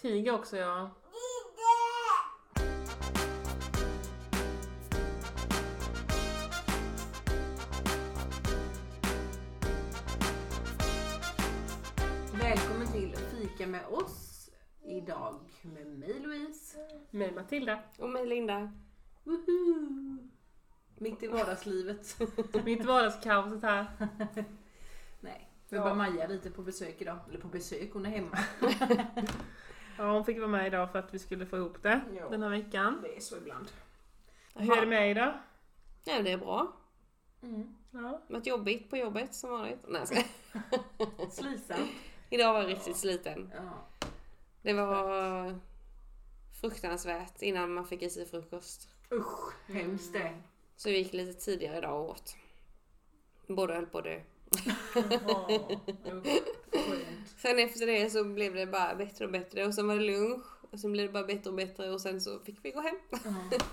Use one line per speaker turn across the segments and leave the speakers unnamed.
kriga också ja.
Välkommen till Fika med oss. Idag med mig Louise.
Med Matilda.
Och mig Linda.
Woohoo! Mitt i vardagslivet.
Typ Mitt vardagskaoset här.
Nej, vi
Ja.
bara Maja lite på besök idag. Eller på besök, hon är hemma.
Ja, hon fick vara med idag för att vi skulle få ihop det
Ja.
den här veckan.
Det är så ibland.
Hur är det med dig idag?
Nej, det är bra.
Mm.
Ja.
Varit jobbigt på jobbet som vanligt. Nej, jag skojar.
Slitsamt.
Idag var jag riktigt sliten.
Ja.
Det var fruktansvärt innan man fick i sig frukost.
Usch, hemskt det.
Så vi gick lite tidigare idag och åt. Båda höll på att dö.
Ja, usch, skönt.
Sen efter det så blev det bara bättre och bättre och sen var det lunch och sen blev det bara bättre och bättre och sen så fick vi gå hem.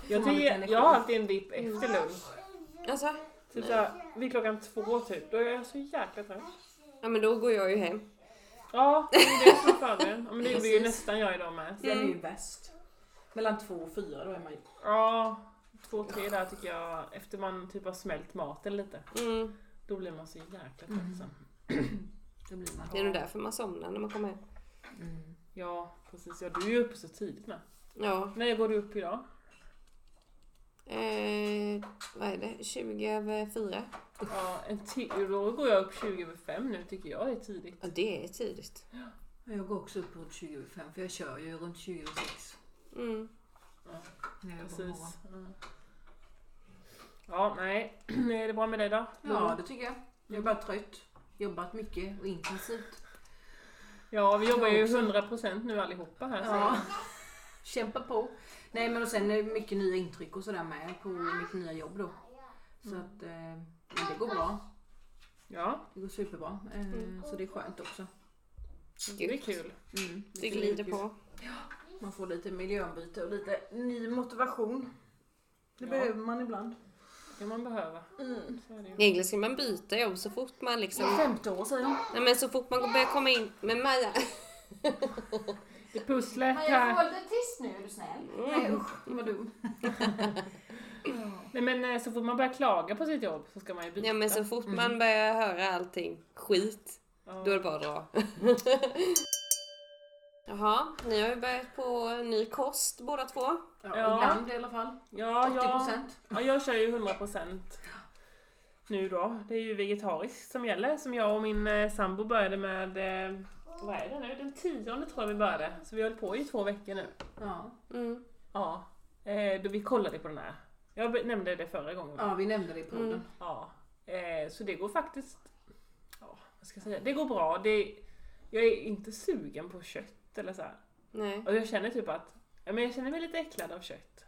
Jag, tycker, jag har alltid en dipp efter lunch.
Alltså,
Typ såhär vid klockan två typ. Då är jag så jäkla trött.
ja men då går jag ju hem.
Ja, det är det som är fördelen. Ja, men det gjorde ju
Precis.
nästan jag idag med.
Den är ju bäst. Mellan två och fyra då är man ju...
Ja, två, tre där tycker jag. Efter man typ har smält maten lite.
Mm.
Då blir man så jäkla trött sen.
Då blir man.
Det är nog därför man somnar när man kommer hem.
Mm.
Ja, precis. Ja, du är ju uppe så tidigt med.
Ja,
När går du upp idag?
eh, vad är det? 20 över 4?
Ja, en ti- då går jag upp 20 över fem nu tycker jag är tidigt.
Ja, det är tidigt.
Jag går också upp runt 20 över fem, för jag kör ju runt 20 över sex.
Mm.
när jag går på morgonen.
Precis. Mm. Ja, nej. är det bra med dig då?
Ja, det tycker jag. Jag är bara trött. Jobbat mycket och intensivt.
Ja, vi jobbar ju
Jag också.
100% nu allihopa här.
Ja.
Så.
Kämpa på. Nej men och sen är det mycket nya intryck och sådär med på mitt nya jobb då. Så att eh, men det går bra.
Ja,
Det går superbra. Eh, Så det är skönt också.
det är kul.
Mm.
Det glider på.
Man får lite miljöombyte och lite ny motivation. Det
Ja.
behöver man ibland.
Det kan man behöva. Så är det ju.
Egentligen ska man byta jobb så fort man liksom...
Femte år säger hon.
Nej men så fort man börjar komma in... Men Maja!
Det är pusslet
Men jag får
här.
vara lite tyst nu är du snäll.
Nej usch, vad dum.
Nej, men eh, så fort man börjar klaga på sitt jobb så ska man ju byta.
Ja men så fort man börjar höra allting skit,
Ja.
då är det bara att dra. Jaha, ni har ju börjat på ny kost båda två.
Ja,
Ja.
Ibland i alla fall.
Ja,
80
jag,
procent.
ja, jag kör ju 100% nu då. Det är ju vegetariskt som gäller. Som jag och min eh, sambo började med, eh, vad är det nu, den tionde tror jag vi började. Så vi har hållit på i två veckor nu.
Ja.
Mm.
Ja, eh, då vi kollade på den här. Jag be- nämnde det förra gången. va?
ja, vi nämnde det i podden.
Ja. Eh, så det går faktiskt, ja, vad ska jag säga, det går bra. Det, jag är inte sugen på kött eller så här.
Nej.
Och jag känner typ att, ja men jag känner mig lite äcklad av kött.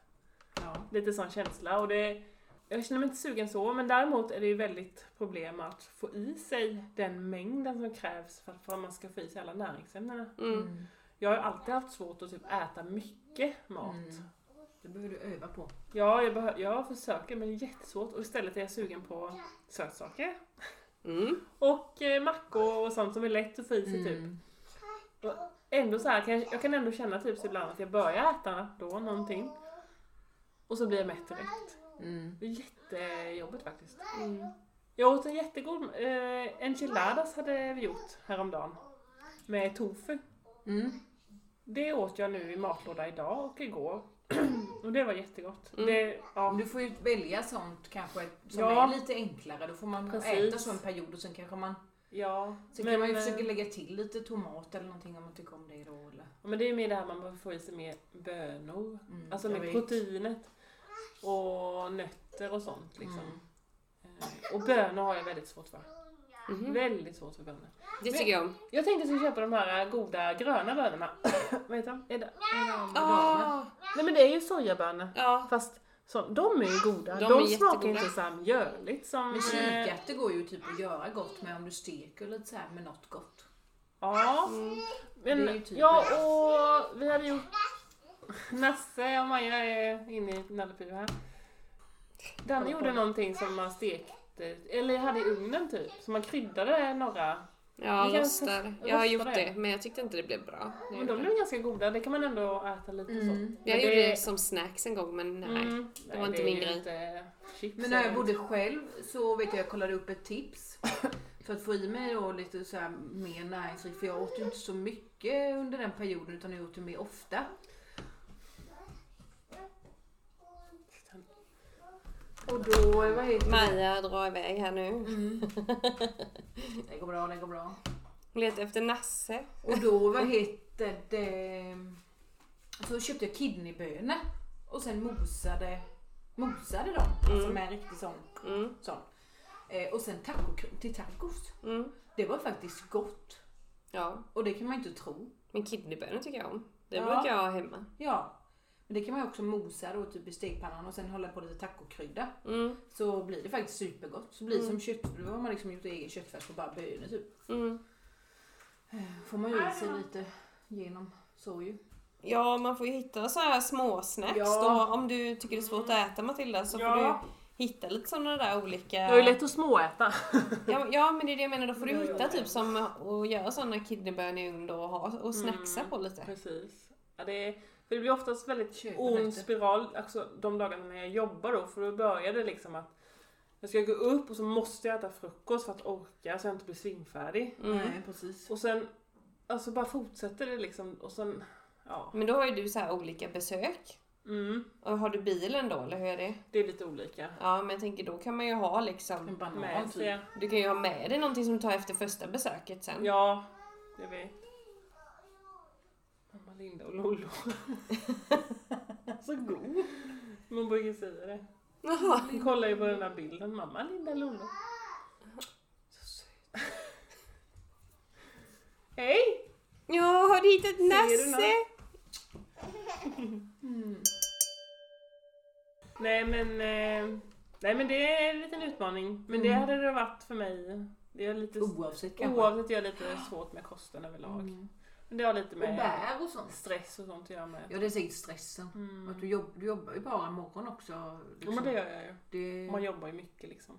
Ja.
lite sån känsla och det jag känner mig inte sugen så, men däremot är det ju väldigt problem att få i sig den mängden som krävs för att för att man ska få i sig alla näringsämnena.
Mm.
Jag har ju alltid haft svårt att typ äta mycket mat.
Mm. Det behöver du öva på.
Ja, jag, behö- jag försöker men det är jättesvårt och istället är jag sugen på sötsaker
Mm.
och eh, mackor och sånt som är lätt att få i sig typ.
Mm.
Ändå så här, kan jag, jag kan ändå känna typ så ibland att jag börjar äta då någonting och så blir jag Mm. mätt direkt.
Mm.
Det är jättejobbigt faktiskt.
Mm.
Jag åt en jättegod eh, enchiladas hade vi gjort häromdagen. Med tofu.
Mm.
Det åt jag nu i matlåda idag och igår. och det var jättegott.
Mm.
Det, ja,
Om du får ju välja sånt kanske som
Ja.
är lite enklare. Då får man
Precis.
äta så en period och sen kanske man...
ja.
Sen
Men,
kan man ju
eh,
försöka lägga till lite tomat eller någonting om man tycker om det då. Eller,
ja, men det är ju mer det här man behöver få i sig mer bönor.
mm,
Alltså
jag
med
vet.
proteinet. Och nötter och sånt liksom.
Mm.
Eh, Och bönor har jag väldigt svårt för.
Mm.
Mhm.
Väldigt svårt för bönor.
Det tycker jag om.
Jag tänkte att jag skulle köpa de här eh, goda gröna bönorna. Vad heter de? Är det, är de
Ah,
Nej men det är ju sojabönor.
ja,
Fast så, de är ju goda.
De
De,
är
smakar
jättegoda.
inte så här mjöligt som...
Men
eh,
kikärtor går ju typ att göra gott med om du steker lite så här med något gott.
Ja.
Mm. Det är
Men,
ju typ
ja, och vi hade gjort... Nasse och Maja är inne i nallepiva här. Danne gjorde någonting som man stekte, eller hade i ugnen typ, så man kryddade några
Ja,
Vi kan
rostar.
testa-
Jag har
rosta
gjort
det.
det, men jag tyckte inte det blev bra.
Men
när Jag,
de
gjorde det.
blev ganska goda, det kan man ändå äta lite så.
Mm.
Men
jag gjorde det som snacks en gång, men nej.
Mm,
var inte
är
min
ju
grej.
inte chips
Men när jag
eller-
bodde själv så vet jag, jag kollade upp ett tips. För att få i mig då lite så här mer näringsrikt. För jag åt ju inte så mycket under den perioden utan jag åt det mer ofta. Och då, vad heter det?
Maja drar iväg här nu.
Det går bra, det går bra.
Hon letar efter Nasse.
Och då, vad heter det? Så köpte jag kidneybönor. Och sen mosade, mosade dem. Alltså
Mm.
med en riktig sån.
Mm,
sån. Eh, och sen taco, till tacos.
mm.
Det var faktiskt gott.
Ja,
Och det kan man ju inte tro.
men kidneybönor tycker jag om. Det
Ja.
brukar jag ha hemma.
Ja. Men det kan man ju också mosa då typ i stekpannan och sen hålla på lite tacokrydda.
Mm,
Så blir det faktiskt supergott. Så blir det som kött, då har man liksom gjort egen köttfärs på bara bönor typ.
mm.
Eh, Får man ju i
Ah,
sig lite genom så ju.
Ja, man får ju hitta så här små snacks
Ja.
då. Om du tycker det är svårt att äta Matilda så
Ja.
får du hitta lite sådana där olika...
Det var ju lätt att småäta.
Ja, ja men det är det jag menar, då får du
Ja, ja,
hitta
ja.
typ som att göra sådana kidneybönor i ugn då och, ha, och snacksa på lite.
Precis. Ja, det, är, för det blir oftast väldigt
Köpa
ond
lite.
spiral alltså, de dagarna när jag jobbar då för då börjar det liksom att jag ska gå upp och så måste jag äta frukost för att orka så jag inte blir svimfärdig.
Mm.
Nej Eh, precis.
Och sen alltså bara fortsätter det liksom och sen ja.
Men då har ju du så här olika besök.
Mm,
Och har du bilen då eller hur är det?
det är lite olika.
Ja men jag tänker då kan man ju ha
En
liksom,
banan
Med
typ.
sig.
du kan ju ha med dig någonting som du tar efter första besöket sen.
Ja, det vet. Mamma Linda och Lollo. så god. Man brukar säga det.
Jaha.
Hon kollar ju på den där bilden. Mamma Linda Lollo. Så söt. Hej!
Ja, har du hittat
du
Nasse?
något? Nej men, eh, nej men det är en liten utmaning. Men det
Mm.
hade det varit för mig. Det är lite,
Oavsett kanske.
oavsett jag är lite svårt med kosten överlag.
Mm.
Men det har lite
Och
med
bär och sånt.
stress och sånt att göra med.
Ja det är säkert stressen.
Mm.
Att du, jobb, du jobbar ju bara morgon också. liksom.
Ja men det gör jag ju.
det...
Man jobbar ju mycket liksom.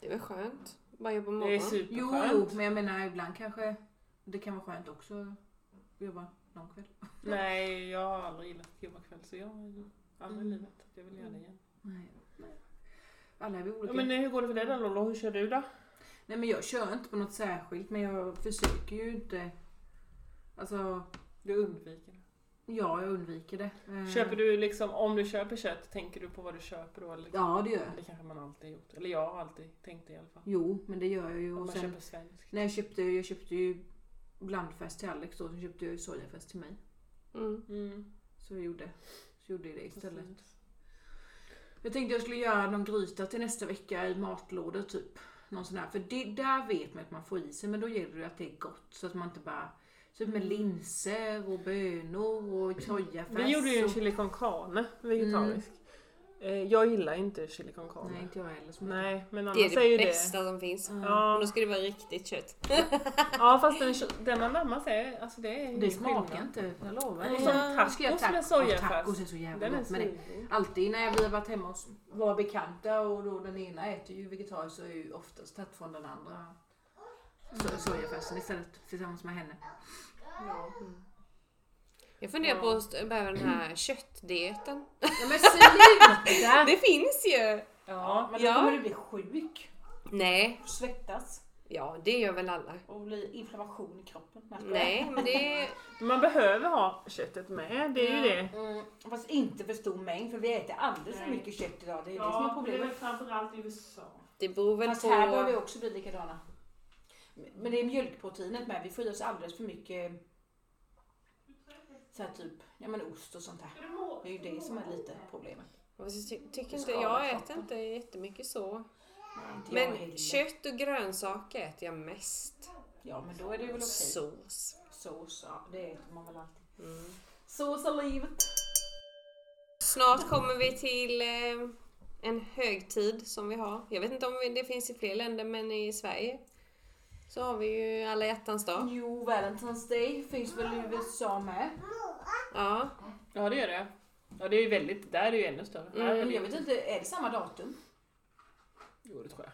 Det var skönt. Bara jobba
Det är
morgon.
Jo,
superskönt.
jo, men jag menar ibland kanske det kan vara skönt också att jobba lång kväll.
Nej, jag har aldrig gillat att jobba kväll så jag har aldrig
Mm.
livet att jag vill göra det igen.
Nej. Alla är vi olika.
Ja, men eh, hur går det för dig då Lollo? Hur kör du då?
Nej men jag kör inte på något särskilt men jag försöker ju inte. Alltså,
Du undviker det.
ja jag undviker det. Eh,
Köper du liksom, om du köper kött, tänker du på vad du köper då? Eller?
Ja det gör jag.
Det kanske man alltid gjort. Eller jag har alltid tänkt det i alla fall.
Jo, men det gör jag ju.
Om
Och
man
sen,
köper svenskt.
när jag köpte, jag köpte ju blandfärs till Alex då, sen köpte jag ju sojafärs till mig.
Mm.
Mm,
Så jag gjorde, så gjorde jag det istället.
precis.
Jag tänkte jag skulle göra någon gryta till nästa vecka i matlådor typ. Någon sån här. För det, där vet man att man får i sig men då gäller det att det är gott så att man inte bara... Typ med linser och bönor och sojafärs.
Vi gjorde ju en
och-
chili con carne, vegetarisk. Eh, Jag gillar inte chili con carne. Nej,
Mm. Nej inte jag heller. Så mycket.
Nej men
Det
annars
är det
ju
bästa
det.
som finns.
Ja.
Men då ska det vara riktigt kött.
Ja fast den, den anammas är, alltså det är ju
Det
ingen
smakar
skillnad.
inte, jag lovar.
Och
Det.
som
Ja,
Ska jag
tacos
ta-
med
och Tacos är
sojafärs.
så jävla
Den är
gott med det.
svinbra.
Alltid när vi har varit hemma hos våra bekanta och då den ena äter ju vegetariskt så är ju oftast tagit från den andra so- sojafärsen istället tillsammans med henne.
Jag funderar
Ja.
på att st- börja med den här köttdieten.
Ja men sluta!
Det finns ju!
Ja,
Men då
Ja.
kommer du bli sjuk,
Nej,
svettas
ja det gör väl alla.
och bli inflammation i kroppen. märker du?
Nej, men det...
men man behöver ha köttet med, det är ju det.
Mm, fast inte för stor mängd för vi äter alldeles för mycket kött idag. Det är det som
Ja,
är
det är väl
problemet.
framförallt i USA.
Det beror väl
Fast
på...
här bör vi också bli likadana. Men det är mjölkproteinet med. Vi får i oss alldeles för mycket så här typ, ja men ost och sånt här. Det är ju det som är lite problemet.
Fast jag ty- tycker
Det
inte,
skadar
jag
kroppen.
äter inte jättemycket så.
Nej, inte jag
Men
heller.
kött och grönsaker äter jag mest.
Ja men då är det väl okej.
Sås.
Sås, ja det äter man väl alltid.
Mm.
Sås är livet.
Snart kommer vi till eh, en högtid som vi har. Jag vet inte om vi- det finns i fler länder, men i Sverige så har vi ju alla hjärtans dag.
Jo, Valentine's Day finns väl i USA med.
Ja,
Ja, det gör det. Ja, det är ju Mm. väldigt, där är det ju ännu större. Här är
Men
det,
jag
ju-
vet inte, är det samma datum?
jo, det tror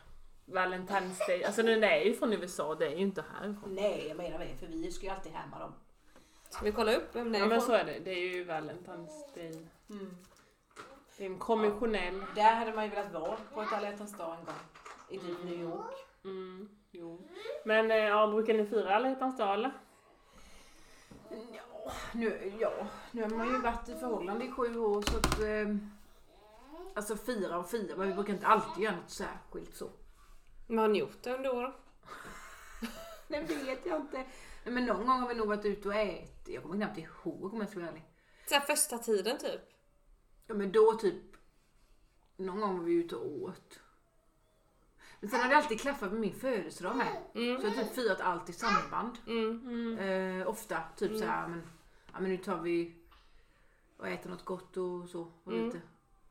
jag. Valentine's Day. Alltså den är ju från USA, det är ju inte härifrån.
Nej, jag menar det, för vi ska ju alltid härma dem.
Ska vi kolla upp vem det
Ja
är
men så
ifrån?
är det, det är ju Valentine's Day. Det är en konventionell.
Där hade man ju velat vara på ett alla hjärtans dag en gång. I typ New York.
Mm, jo. Men eh, ja, brukar ni fira alla hjärtans dag eller?
Ja nu, ja, nu har man ju varit i förhållande i sju år så att... Eh, alltså fira och fira, men vi brukar inte alltid göra något särskilt så.
Vad har ni gjort det under åren?
Det vet jag inte. Nej, men någon gång har vi nog varit ute och ätit. Jag kommer knappt ihåg om jag ska vara ärlig.
Så här första tiden typ.
Ja men då typ, någon gång var vi ute och åt. Men sen har det alltid klaffat med min födelsedag med.
Mm.
Så jag har typ firat allt i samband.
Mm.
Eh, ofta, typ så såhär, men, ja men nu tar vi och äter något gott och så. Och
Mm.
lite.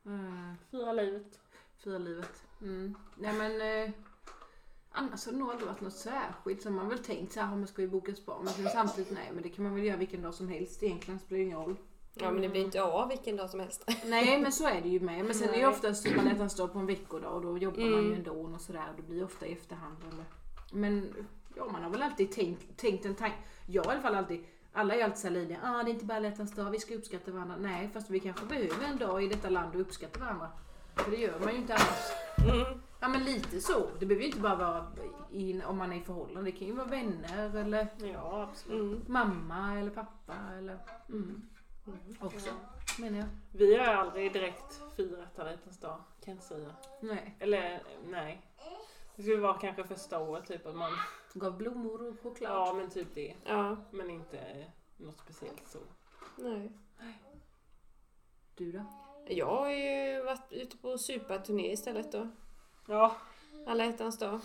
Eh,
Fira livet.
fira livet. Mm. Nej men eh, annars har det nog aldrig varit något särskilt. Sen har man väl tänkt såhär, "Ja, men ska vi boka spa? Men sen samtidigt, nej men det kan man väl göra vilken dag som helst egentligen, spelar det ingen roll.
Ja men det blir inte av vilken dag som helst.
Nej men så är det ju med. Men sen är det
Nej.
oftast typ man äter står på en veckodag och då jobbar man
Mm.
ju ändå och sådär. Det blir ofta i efterhand. Eller. Men ja, man har väl alltid tänkt, tänkt en tanke. Jag i alla fall alltid. Alla är ju alltid såhär lydiga. Ah, det är inte bara alla hjärtans dag, vi ska uppskatta varandra. Nej, fast vi kanske behöver en dag i detta land och uppskatta varandra. För det gör man ju inte annars.
Mm.
Ja men lite så. Det behöver ju inte bara vara i, om man är i förhållande. Det kan ju vara vänner eller
Ja, absolut.
Mm.
mamma eller pappa eller
Mm.
också. Menar jag.
Vi har aldrig direkt firat alla hjärtans dag, kan jag säga.
Nej.
Eller nej. Det skulle vara kanske första året, typ att man...
Gav blommor och choklad.
Ja, men typ det.
Ja,
Men inte eh, något speciellt så.
nej.
Du då?
Jag har ju varit ute på superturné istället då.
Ja,
Alla hjärtans dag.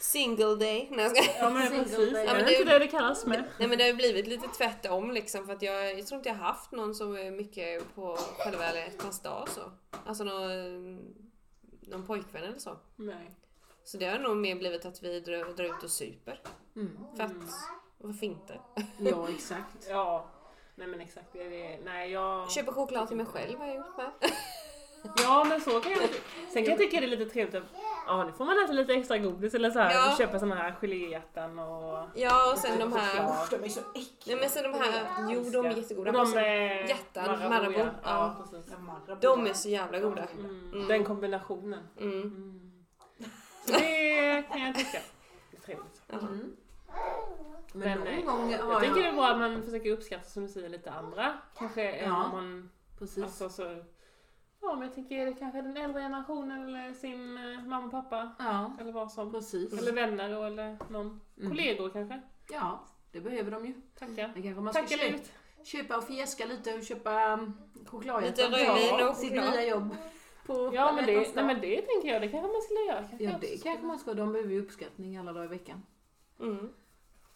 Single day. Nej, jag skojar.
ja men
Single
precis.
day.
Ja, men det är inte det det kallas med.
Nej men det har ju blivit lite tvärtom liksom för att jag, jag tror inte jag har haft någon som är mycket på själva alla hjärtans dag så. Alltså någon, någon pojkvän eller så.
Nej.
Så det har nog mer blivit att vi drar, drar ut och super.
Mm.
För
Mm.
att, varför inte?
Ja, exakt.
Ja. Nej men exakt, det är det. Nej jag...
Köper choklad till mig själv har jag gjort med.
Ja men så kan jag Sen kan jag tycka det är lite trevligt att... Ja nu får man äta lite extra godis eller så här.
Ja.
Och köpa såna här geléhjärtan och...
Ja och sen de här...
Usch,
de är så äckliga.
Nej men sen de här... Jo de är jättegoda.
Och de
Sen-
är...
hjärtan,
Marabou,
Marabou,
Ja,
ja.
ja precis.
De är så jävla goda.
Mm.
Mm.
Den kombinationen.
Mm.
Mm. Så det kan jag tycka. Det är trevligt.
Ja.
Mm.
Men,
Men, någon
eh,
gång
Jag
har
tycker det
jag...
är bra att man försöker uppskatta som du säger lite andra. Kanske än
Ja.
om man...
Precis.
Alltså så... Ja men jag tänker det kanske är den äldre generationen eller sin eh, mamma och pappa.
Ja,
Eller vad som.
precis.
Eller vänner och- eller någon.
Mm.
Kollegor kanske.
Ja, det behöver de ju.
Tacka.
Det kanske man ska
Tacka
köpa,
livet.
köpa och fjäska lite och köpa um, chokladhjärtan.
Lite rödvin
Ja,
och
Sitt
choklad.
nya jobb. På
Ja men det,
Hjärtans
nej,
dag.
men det tänker jag, det kanske man skulle göra. Kanske
Ja,
jag
det
också
kanske
skulle-
man ska. De behöver ju uppskattning alla dagar i veckan.
Mm.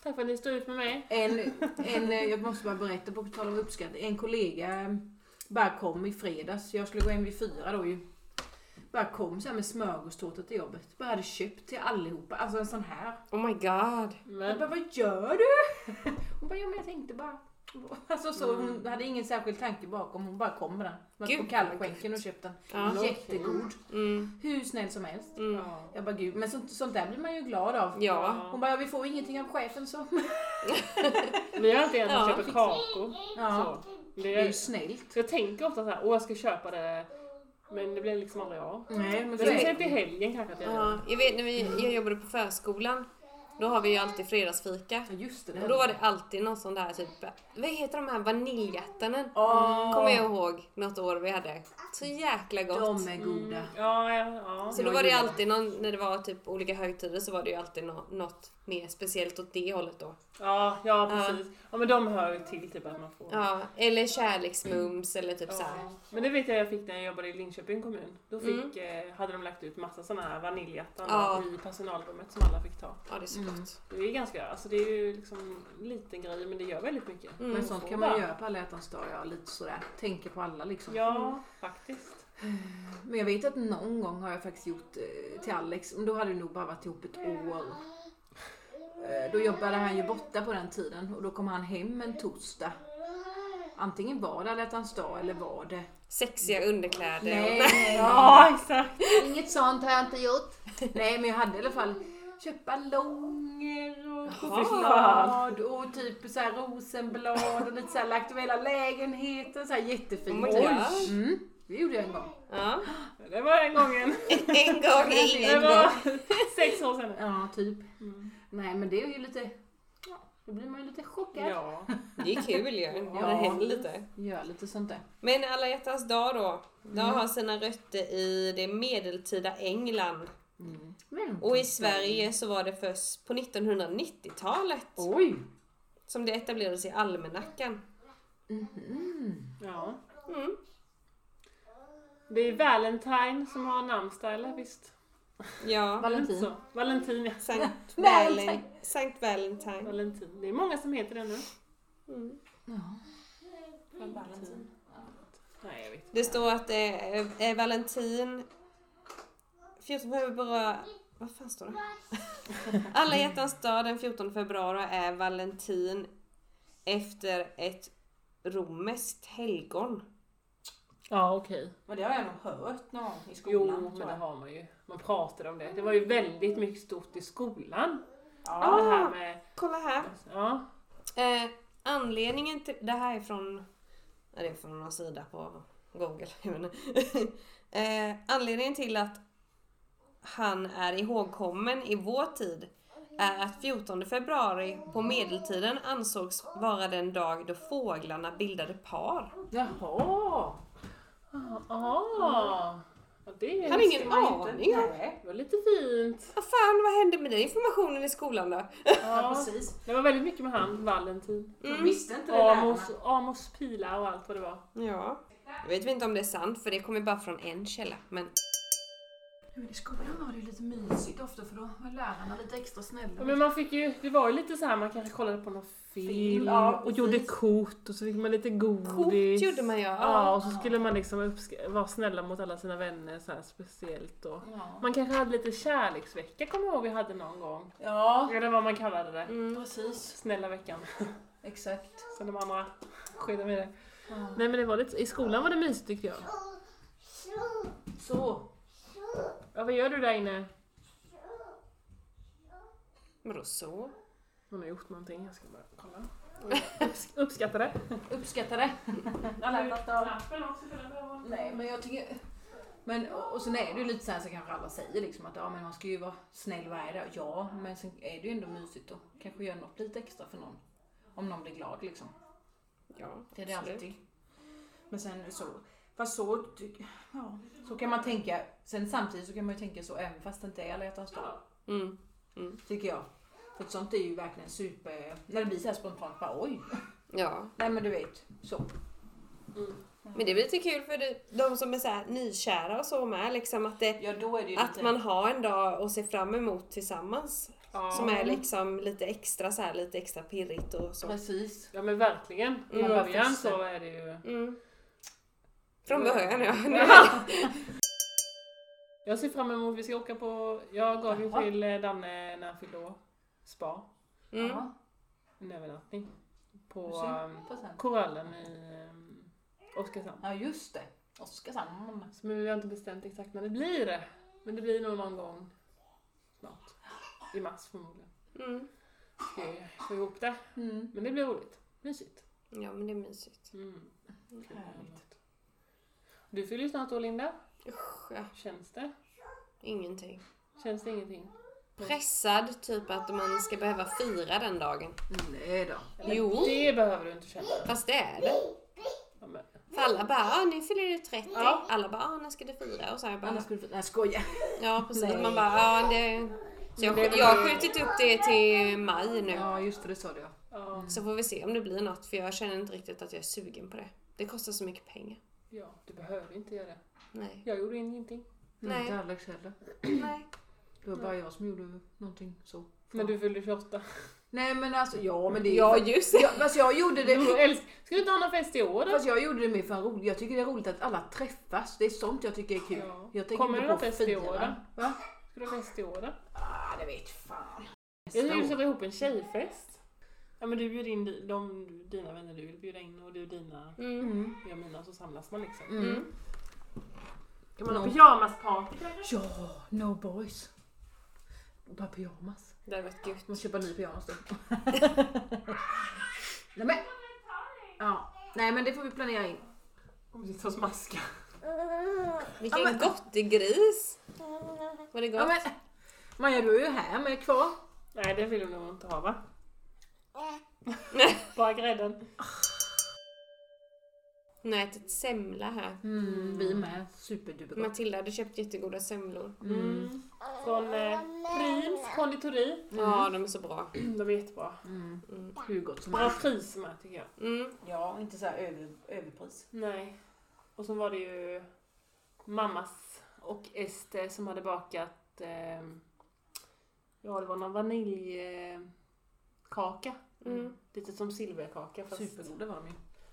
Tack för att ni står ut med mig.
En, en, eh, jag måste bara berätta på tal om uppskattning. En kollega eh, bara kom i fredags. Jag skulle gå hem vid fyra då ju. Bara kom så här med smörgåstårta till jobbet. Bara hade köpt till allihopa. Alltså en sån här.
Oh my god.
Jag
Men,
bara, vad gör du? Hon bara, ja men jag tänkte bara. Alltså så, hon hade ingen särskild tanke bakom. Hon bara kom med den. Man
Mm. Gud,
på kallskänken och köpte den.
Ja.
Jättegod.
Mm.
Hur snäll som helst.
Mm.
Jag bara, gud. Men sånt, sånt där blir man ju glad av.
Ja.
Hon bara, ja, vi får ingenting av chefen så.
vi har inte ens
Ja,
köpt
fixa.
kakor.
Ja.
Så.
Det
Det
är ju
är,
snällt.
så jag tänker ofta så här, åh jag ska köpa det, men det blir liksom aldrig av.
Nej, men
Men
så
sen
är
till helgen kanske att jag gör
Ja, jag vet när vi, jag jobbade på förskolan. Då har vi ju alltid fredagsfika.
Ja just det.
Och då var det alltid någon sån där typ, vad heter de här vaniljhjärtanen?
Åh,
Kommer jag ihåg något år vi hade. Så jäkla gott.
de är goda.
det. Mm, Ja, ja, ja.
Så då var det ju alltid någon, när det var typ olika högtider så var det ju alltid nå- något mer speciellt åt det hållet då.
Ja, ja precis. Ja men de hör ju till typ att man får.
Ja, eller kärleksmums eller typ
Ja.
så här. Mm.
Men det vet jag jag fick när jag jobbade i Linköping kommun. Då fick, eh, hade de lagt ut massa såna här vaniljhjärtan
Ja.
i personalrummet som alla fick ta.
Ja, det är så gott.
Det är ganska, alltså det är ju liksom en liten grej men det gör väldigt mycket.
Mm.
Men sånt kan
Får
man ju
bara-
göra på alla hjärtans dag, ja, lite sådär. Tänker på alla liksom.
Ja, faktiskt.
Men jag vet att någon gång har jag faktiskt gjort eh, till Alex, men då hade vi nog bara varit ihop ett år. Eh, Då jobbade han ju borta på den tiden och då kom han hem en torsdag. Antingen var det alla hjärtans dag eller var det...
Sexiga underkläder.
Nej,
Ja, exakt.
inget sånt har jag inte gjort. Nej, men jag hade i alla fall köpt ballonger och
Jaha.
choklad och typ så här rosenblad och lite så här lagt över hela lägenheten. Så här jättefint.
Oh my gosh.
mm, det gjorde jag en gång.
Ja.
Det var en gången.
En gång är
Det
ingen
var
gång.
sex år sedan.
Ja, typ. Nej, men det är ju lite... Ja, då blir man ju lite chockad.
Ja.
Det är kul ju, om det händer lite.
Gör lite sånt där.
Men alla hjärtans dag då. De har sina rötter i det medeltida England.
Men,
Och i Sverige så var det först på 1990-talet
Oj!
som det etablerades i almanackan.
ja.
Mm.
Det är Valentine som har namnsdag, eller visst?
Ja,
Valentin.
Så. Valentin, ja.
Sankt,
Valentine.
Valen, Sankt Valentine.
Valentin. Det är många som heter det nu.
Mm.
Ja.
Valentin. Nej, jag vet inte.
Det står att det är, är Valentin 14 februari... Vad fan står det? Alla hjärtans dag den 14 februari är Valentin efter ett romerskt helgon.
Ja, okej.
Men det har jag nog hört någon gång i
Jo,
skolan.
men
tror
det
jag.
har man ju. Man pratade om det. Det var ju väldigt mycket stort i skolan.
Ja.
Det här med...
Kolla här!
Ja.
Eh, anledningen till... Det här är från... Ja, det är från någon sida på Google. jag vet inte. eh, anledningen till att han är ihågkommen i vår tid är att 14 februari på medeltiden ansågs vara den dag då fåglarna bildade par.
Jaha!
Ah, ja, det
Jag hade
är
ingen aning.
Nej.
det var lite fint.
Vad fan, vad hände med den informationen i skolan då?
Ja,
Ja,
precis.
det var väldigt mycket med han, Valentin.
Jag visste inte det
Amos,
där.
Amos pilar och allt vad det var.
Ja. Jag vet inte om det är sant, för det kommer bara från en källa. Men
Men i skolan var det ju lite mysigt ofta för då var lärarna lite extra snälla.
Ja, men man fick ju, det var ju lite så här, man kanske kollade på någon film
Film, ja,
och gjorde
precis.
kort och så fick man lite godis.
kort gjorde man ju.
Ja, och så skulle man liksom uppsk- vara snälla mot alla sina vänner så här speciellt. Och.
Ja,
Man kanske hade lite kärleksvecka, kommer jag ihåg vi hade någon gång.
Ja,
Eller vad man kallade det.
Mm.
precis.
Snälla veckan.
Exakt.
Sen de andra skedde med det. Nej men det var lite, i skolan var det mysigt tyckte jag.
Så.
Ja, vad gör du där inne?
Vadå så?
Hon har gjort någonting, jag ska bara kolla. Upps- Uppskatta det.
uppskattar det.
Alla hjärtans dag.
Mm. Nej, men jag tycker... Men, och och sen är det ju lite så här så kanske alla säger liksom att ja, men man ska ju vara snäll varje dag. Ja, men sen är det ju ändå mysigt att kanske göra något lite extra för någon. Om någon blir glad liksom.
Ja,
Det är det
absolut.
alltid.
Men sen så. Fast så. ty- Ja.
Så kan man tänka. Sen samtidigt så kan man ju tänka så även fast det inte är alla hjärtans dag.
Mm.
Tycker jag. För ett sånt är ju verkligen super... När det blir så här spontant bara oj.
Ja,
Nej men du vet. Så.
men det blir lite kul för det- de som är så här nykära och så med. Liksom att, det,
ja, då är det ju
att
lite.
man har en dag att se fram emot tillsammans.
Ja.
Som är liksom lite extra så här, lite extra pirrigt och så.
Precis.
Ja men verkligen. I
Ja,
början
precis.
så är det ju...
Mm. Från början ja.
Jag ser fram emot, vi ska åka på... Jag gav ju
Jaha.
till eh, Danne när han fyllde år. Spa.
Mm.
Ja.
En övernattning.
Du
På
ser.
ehm,
På sen.
Korallen i ehm, Oskarshamn.
Ja just det. Oskarshamn.
Så nu har jag inte bestämt exakt när det blir. Men det blir nog någon gång snart. I mars förmodligen.
Mm.
Ska ju få ihop det.
Mm.
Men det blir roligt. Mysigt.
Ja men det är mysigt.
Mm.
Härligt.
Du fyller ju snart år Linda.
Usch, ja.
Känns det?
Ingenting.
Känns det ingenting?
Pressad, typ att man ska behöva fira den dagen.
Nej då.
Jo.
Det behöver du inte känna.
Fast det är det.
Ja, men-
För alla bara, ah, ni fyller ju 30.
Ja.
Alla bara, ah, när ska du fira? Och så har jag bara,
Annars skulle du... Nej skoja.
Ja precis,
Nej.
man bara ja det... Så jag, jag har skjutit upp det till maj nu.
Ja just det, det sa du ja.
Ja.
Så får vi se om det blir något för jag känner inte riktigt att jag är sugen på det. Det kostar så mycket pengar.
ja, du behöver inte göra det.
Nej.
Jag gjorde ingenting.
Nej.
Nej.
Inte Alex heller.
Nej.
Det var bara jag som gjorde någonting så.
Men du fyllde 28.
Nej men alltså, ja men det...
Ja just det.
Ja, fast jag gjorde
Du
det...
älsk- Ska du inte ha någon fest i år då?
Fast jag gjorde det mer för en rolig. Jag tycker det är roligt att alla träffas. Det är sånt jag tycker är kul.
Ja.
Jag tänker
Kommer
inte
det
på
någon fest i
firan.
år då?
Va?
Ska du ha fest i år då?
Ah, det vet fan.
Jag tycker du
Nästa
ska
år.
dra ihop en tjejfest. Ja men du bjuder in di- de, dina vänner du vill bjuda in och du dina,
Mm.
jag mina, så samlas man liksom.
Mm.
Mm.
Kan man ha
Mm.
pyjamasparty kanske?
Ja, no boys. Bara pyjamas.
Det hade varit gött.
Man köpa ny pyjamas då. Nej men. Ja. Nej men det får vi planera in.
Kommer sitta och smaska.
Vilken
Ja, men-
gottegris! Var det gott?
Ja, men, Maja du är ju här med kvar.
Nej, det vill hon nog inte ha va? Bara grädden.
Hon har ätit semla här.
Mm, vi med. Superdupergott.
Matilda hade köpt jättegoda semlor.
Mm. Från eh, Prims konditori.
Ja, de är så bra.
De är jättebra.
Mm.
Mm.
Hur gott som
Bra
helst.
pris med tycker jag.
Mm.
Ja, inte så här över, överpris.
Nej. Och så var det ju mammas och Ester som hade bakat eh, ja, det var någon vaniljkaka.
Mm.
Lite som silverkaka fast
Supergoda var de ju.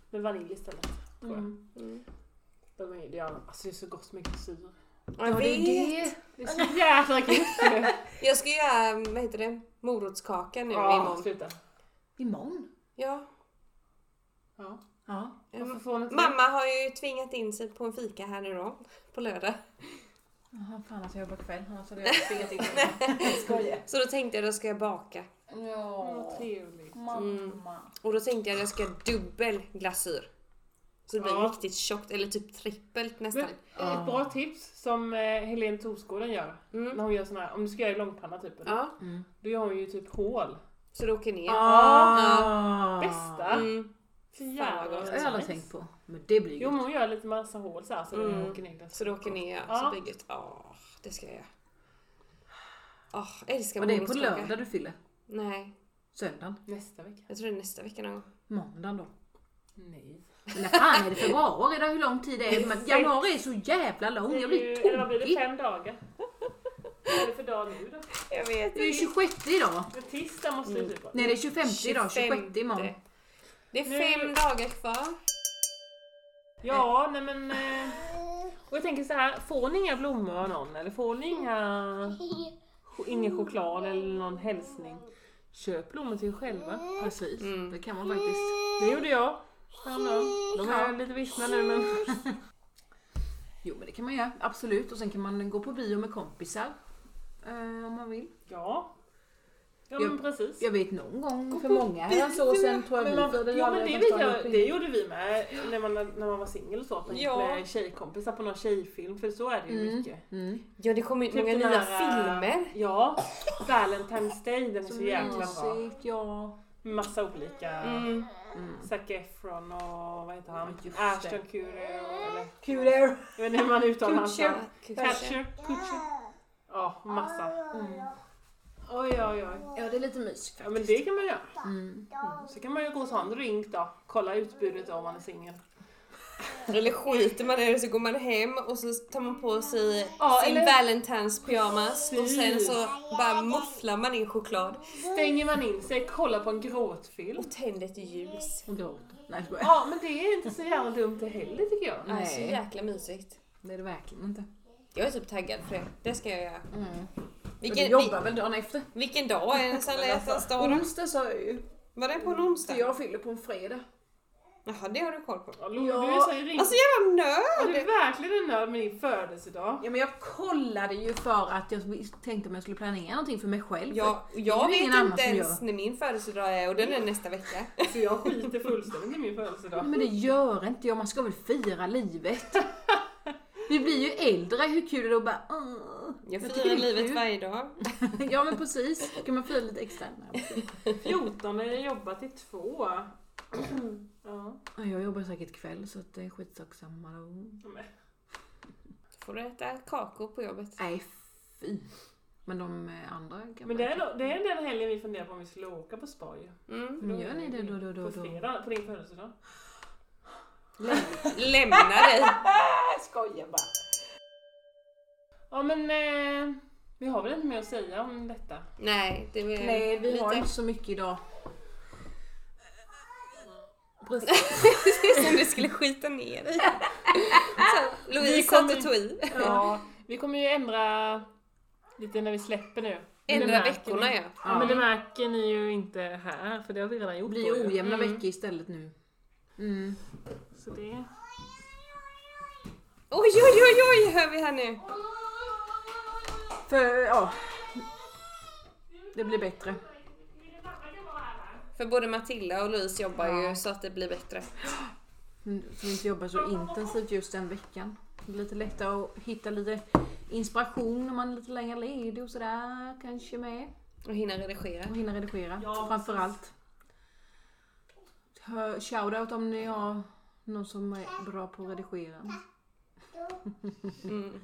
med vanilj istället. Tror jag.
Mm.
De är, det, är, alltså det är så gott med glycerin.
Jag vet!
Det är så jävla gott!
Jag ska göra, vad heter det, morotskaka nu imorgon.
sluta.
Imorgon?
Ja.
Ja.
Ja.
Varför får hon inte det?
Alltså, Mamma har ju tvingat in sig på en fika här nu då, på lördag.
Jaha, fan att jag jobbar kväll. Annars hade jag tvingat in mig.
Jag skojar.
Så då tänkte jag då ska jag baka.
Vad
Ja.
trevligt.
Mamma.
Och då tänkte jag att jag ska ha dubbel glasyr. Så det blir
Ja.
riktigt tjockt, eller typ trippelt nästan.
Ett eh, bra tips som eh, Helene Torsgården gör.
Mm.
När hon gör sån här, om du ska göra i långpanna typ. eller?
Ja,
Mm.
Då gör hon ju typ hål.
så det åker ner.
Ah.
Bästa!
Mm.
Fy
Fan, vad
jävla
gott.
Det har jag aldrig tänkt på. Men det blir
Jo
gott.
men hon gör lite massa hål så här så
Mm.
det åker ner.
Så det åker ner, ja.
Ja.
så blir det gött. Åh, det ska jag göra. Åh, jag älskar
Och det är på
morotskaka.
lördag du fyller?
Nej,
Söndagen?
Nästa vecka?
jag tror det är nästa vecka någon gång.
Måndagen då?
Nej.
Men när fan är det februari då? Hur lång tid är det? Men januari är så jävla lång. Jag blir
Eller vad blir det?
tokig.
Fem dagar? Vad är det för dag nu då?
Jag vet
Det är ju 26 idag.
Men tisdag måste
Mm.
det typ vara.
Nej det är 25 idag. 26 imorgon.
Mm.
Det är fem
Nu-
dagar kvar.
Ja, nej men... eh, Och jag tänker så här, får ni inga blommor av någon eller får ni inga, ingen choklad eller någon hälsning? Köp blommor till er själva.
Precis.
Mm.
Det kan man faktiskt.
Det gjorde jag. häromdagen. De är lite vissna nu men...
Jo men det kan man göra. Absolut. Och sen kan man gå på bio med kompisar. Eh, om man vill.
Ja. Ja men precis.
Jag vet någon gång för många herrans år sedan tror jag
Men
vi
man,
för det
ja, men det,
aldrig
vet
första
jag,
gången.
det gjorde vi med när man, när man var singel och så. Att man gick
Ja.
med tjejkompisar på någon tjejfilm. För så är det ju mycket.
Mm.
Ja, det kommer ut
Typ
många
den
nya
här, eh,
filmer.
Ja. Valentine's Day, den är så,
Så
jäkla bra.
mysigt, ja.
Massa olika.
Mm.
Zac Efron och vad heter han?
Ja, just det.
Ashton Kutcher och... Eller,
Kul är
jag vet inte hur man uttalar hans
Ja,
namn.
kanske.
Kutcher. Kutcher. Ja, massa. Mm. Oj, oj, oj.
Ja det är lite mysigt.
Ja men det kan man göra.
Mm.
Så kan man ju gå och ta en drink då. Kolla utbudet då om man är singel.
Eller skiter man i det så går man hem och så tar man på sig
Ja,
sin
eller-
Valentines pyjamas och sen
Precis.
så bara mufflar man in choklad
Stänger man in sig, kollar på en gråtfilm.
och tänder ett ljus.
Och gråt. Nej jag skojar.
Ja men det är inte så jävla dumt det heller tycker jag.
Nej. Så
Nej.
jäkla mysigt.
Det är det verkligen inte.
Jag är typ taggad för det. Det ska jag göra.
Mm. Men du
Vilken,
jobbar alltså,
vil,
väl dagen efter?
vilken dag är det sen alla hjärtans dag då?
Onsdag sa jag ju.
Var det på en onsdag?
Jag fyller på en fredag.
Jaha, det har du koll på.
Ja, Lo, Du är så ring...
Alltså jävla
Ja, du
nörd!
är verkligen en nörd med din födelsedag.
Ja men jag kollade ju för att jag tänkte om jag skulle planera någonting för mig själv.
Jag,
Det är
jag
väl
vet
ingen annan
inte
som
ens när min födelsedag är och den är nästa vecka.
Så Alltså, jag skiter fullständigt i min födelsedag.
Nej, men det gör inte jag, man ska väl fira livet. Vi blir ju äldre, hur kul är det att bara... "Åh,
Jag
tycker det
firar
är
livet
kul."
varje dag.
Ja men precis, kan man fira lite extra? Nej,
14 jag jobbar till två. Ja.
men- Jag jobbar säkert kväll så att det är skitsak samma då.
Men,
Får du äta kakor på jobbet?
Nej fy. Men de eh, andra kan
Men det är, då, det är den helgen vi funderar på om vi skulle åka på spa ju.
Mm.
Men gör ni det då, då, då,
På
då?
fredag, på din födelsedag.
Lämna dig!
Jag skojar bara.
Ja men eh, vi har väl inte mer att säga om detta.
Nej, det är
Nej, vi har
lite
inte så mycket idag. Precis.
som du skulle skita ner dig. Så, Louise
kommer-
satt och tog i.
Ja, vi kommer ju ändra lite när vi släpper nu. Men det
Ändra
märker ni.
veckorna ja.
Ja, men det märker ni ju inte här, för det har vi redan gjort.
Det blir ju
då ju.
ojämna
Mm.
veckor istället nu. Mm.
Så det...
Oj, oj, oj, oj hör vi här nu.
För ja, Det blir bättre.
För både Matilda och Louise jobbar ju så att det blir bättre.
Mm, Som inte jobbar så intensivt just den veckan. Det är lite lättare att hitta lite inspiration när man är lite längre ledig och sådär kanske med.
Och hinna redigera.
Och hinna redigera
Ja,
framförallt. Hör- Shoutout om ni har någon som är bra på att redigera.
Mm.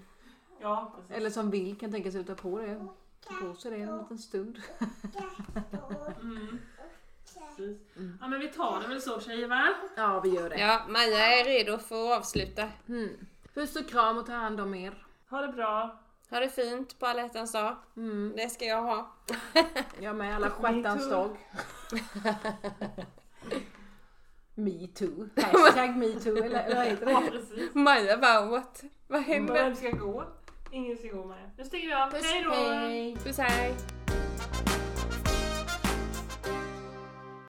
Ja, precis.
Eller som vill kan tänka sig att ta på det. Ta på sig det en liten stund.
Mm. Precis.
Mm.
Ja men vi tar det väl så tjejer va?
Ja, vi gör det.
Ja, Maja är redo för att avsluta.
Mm. Puss och kram och ta hand om er.
Ha det bra.
Ha det fint på alla hjärtans dag.
Mm.
Det ska jag ha.
Jag med alla stjärtans dag. Me too. Hashtag me too eller vad heter
Ja
det?
precis.
Maja bara what? Vad händer?
Vem ska gå? Ingen ska gå med. Nu stänger vi av.
Puss
Hej då!
hej! Puss hej!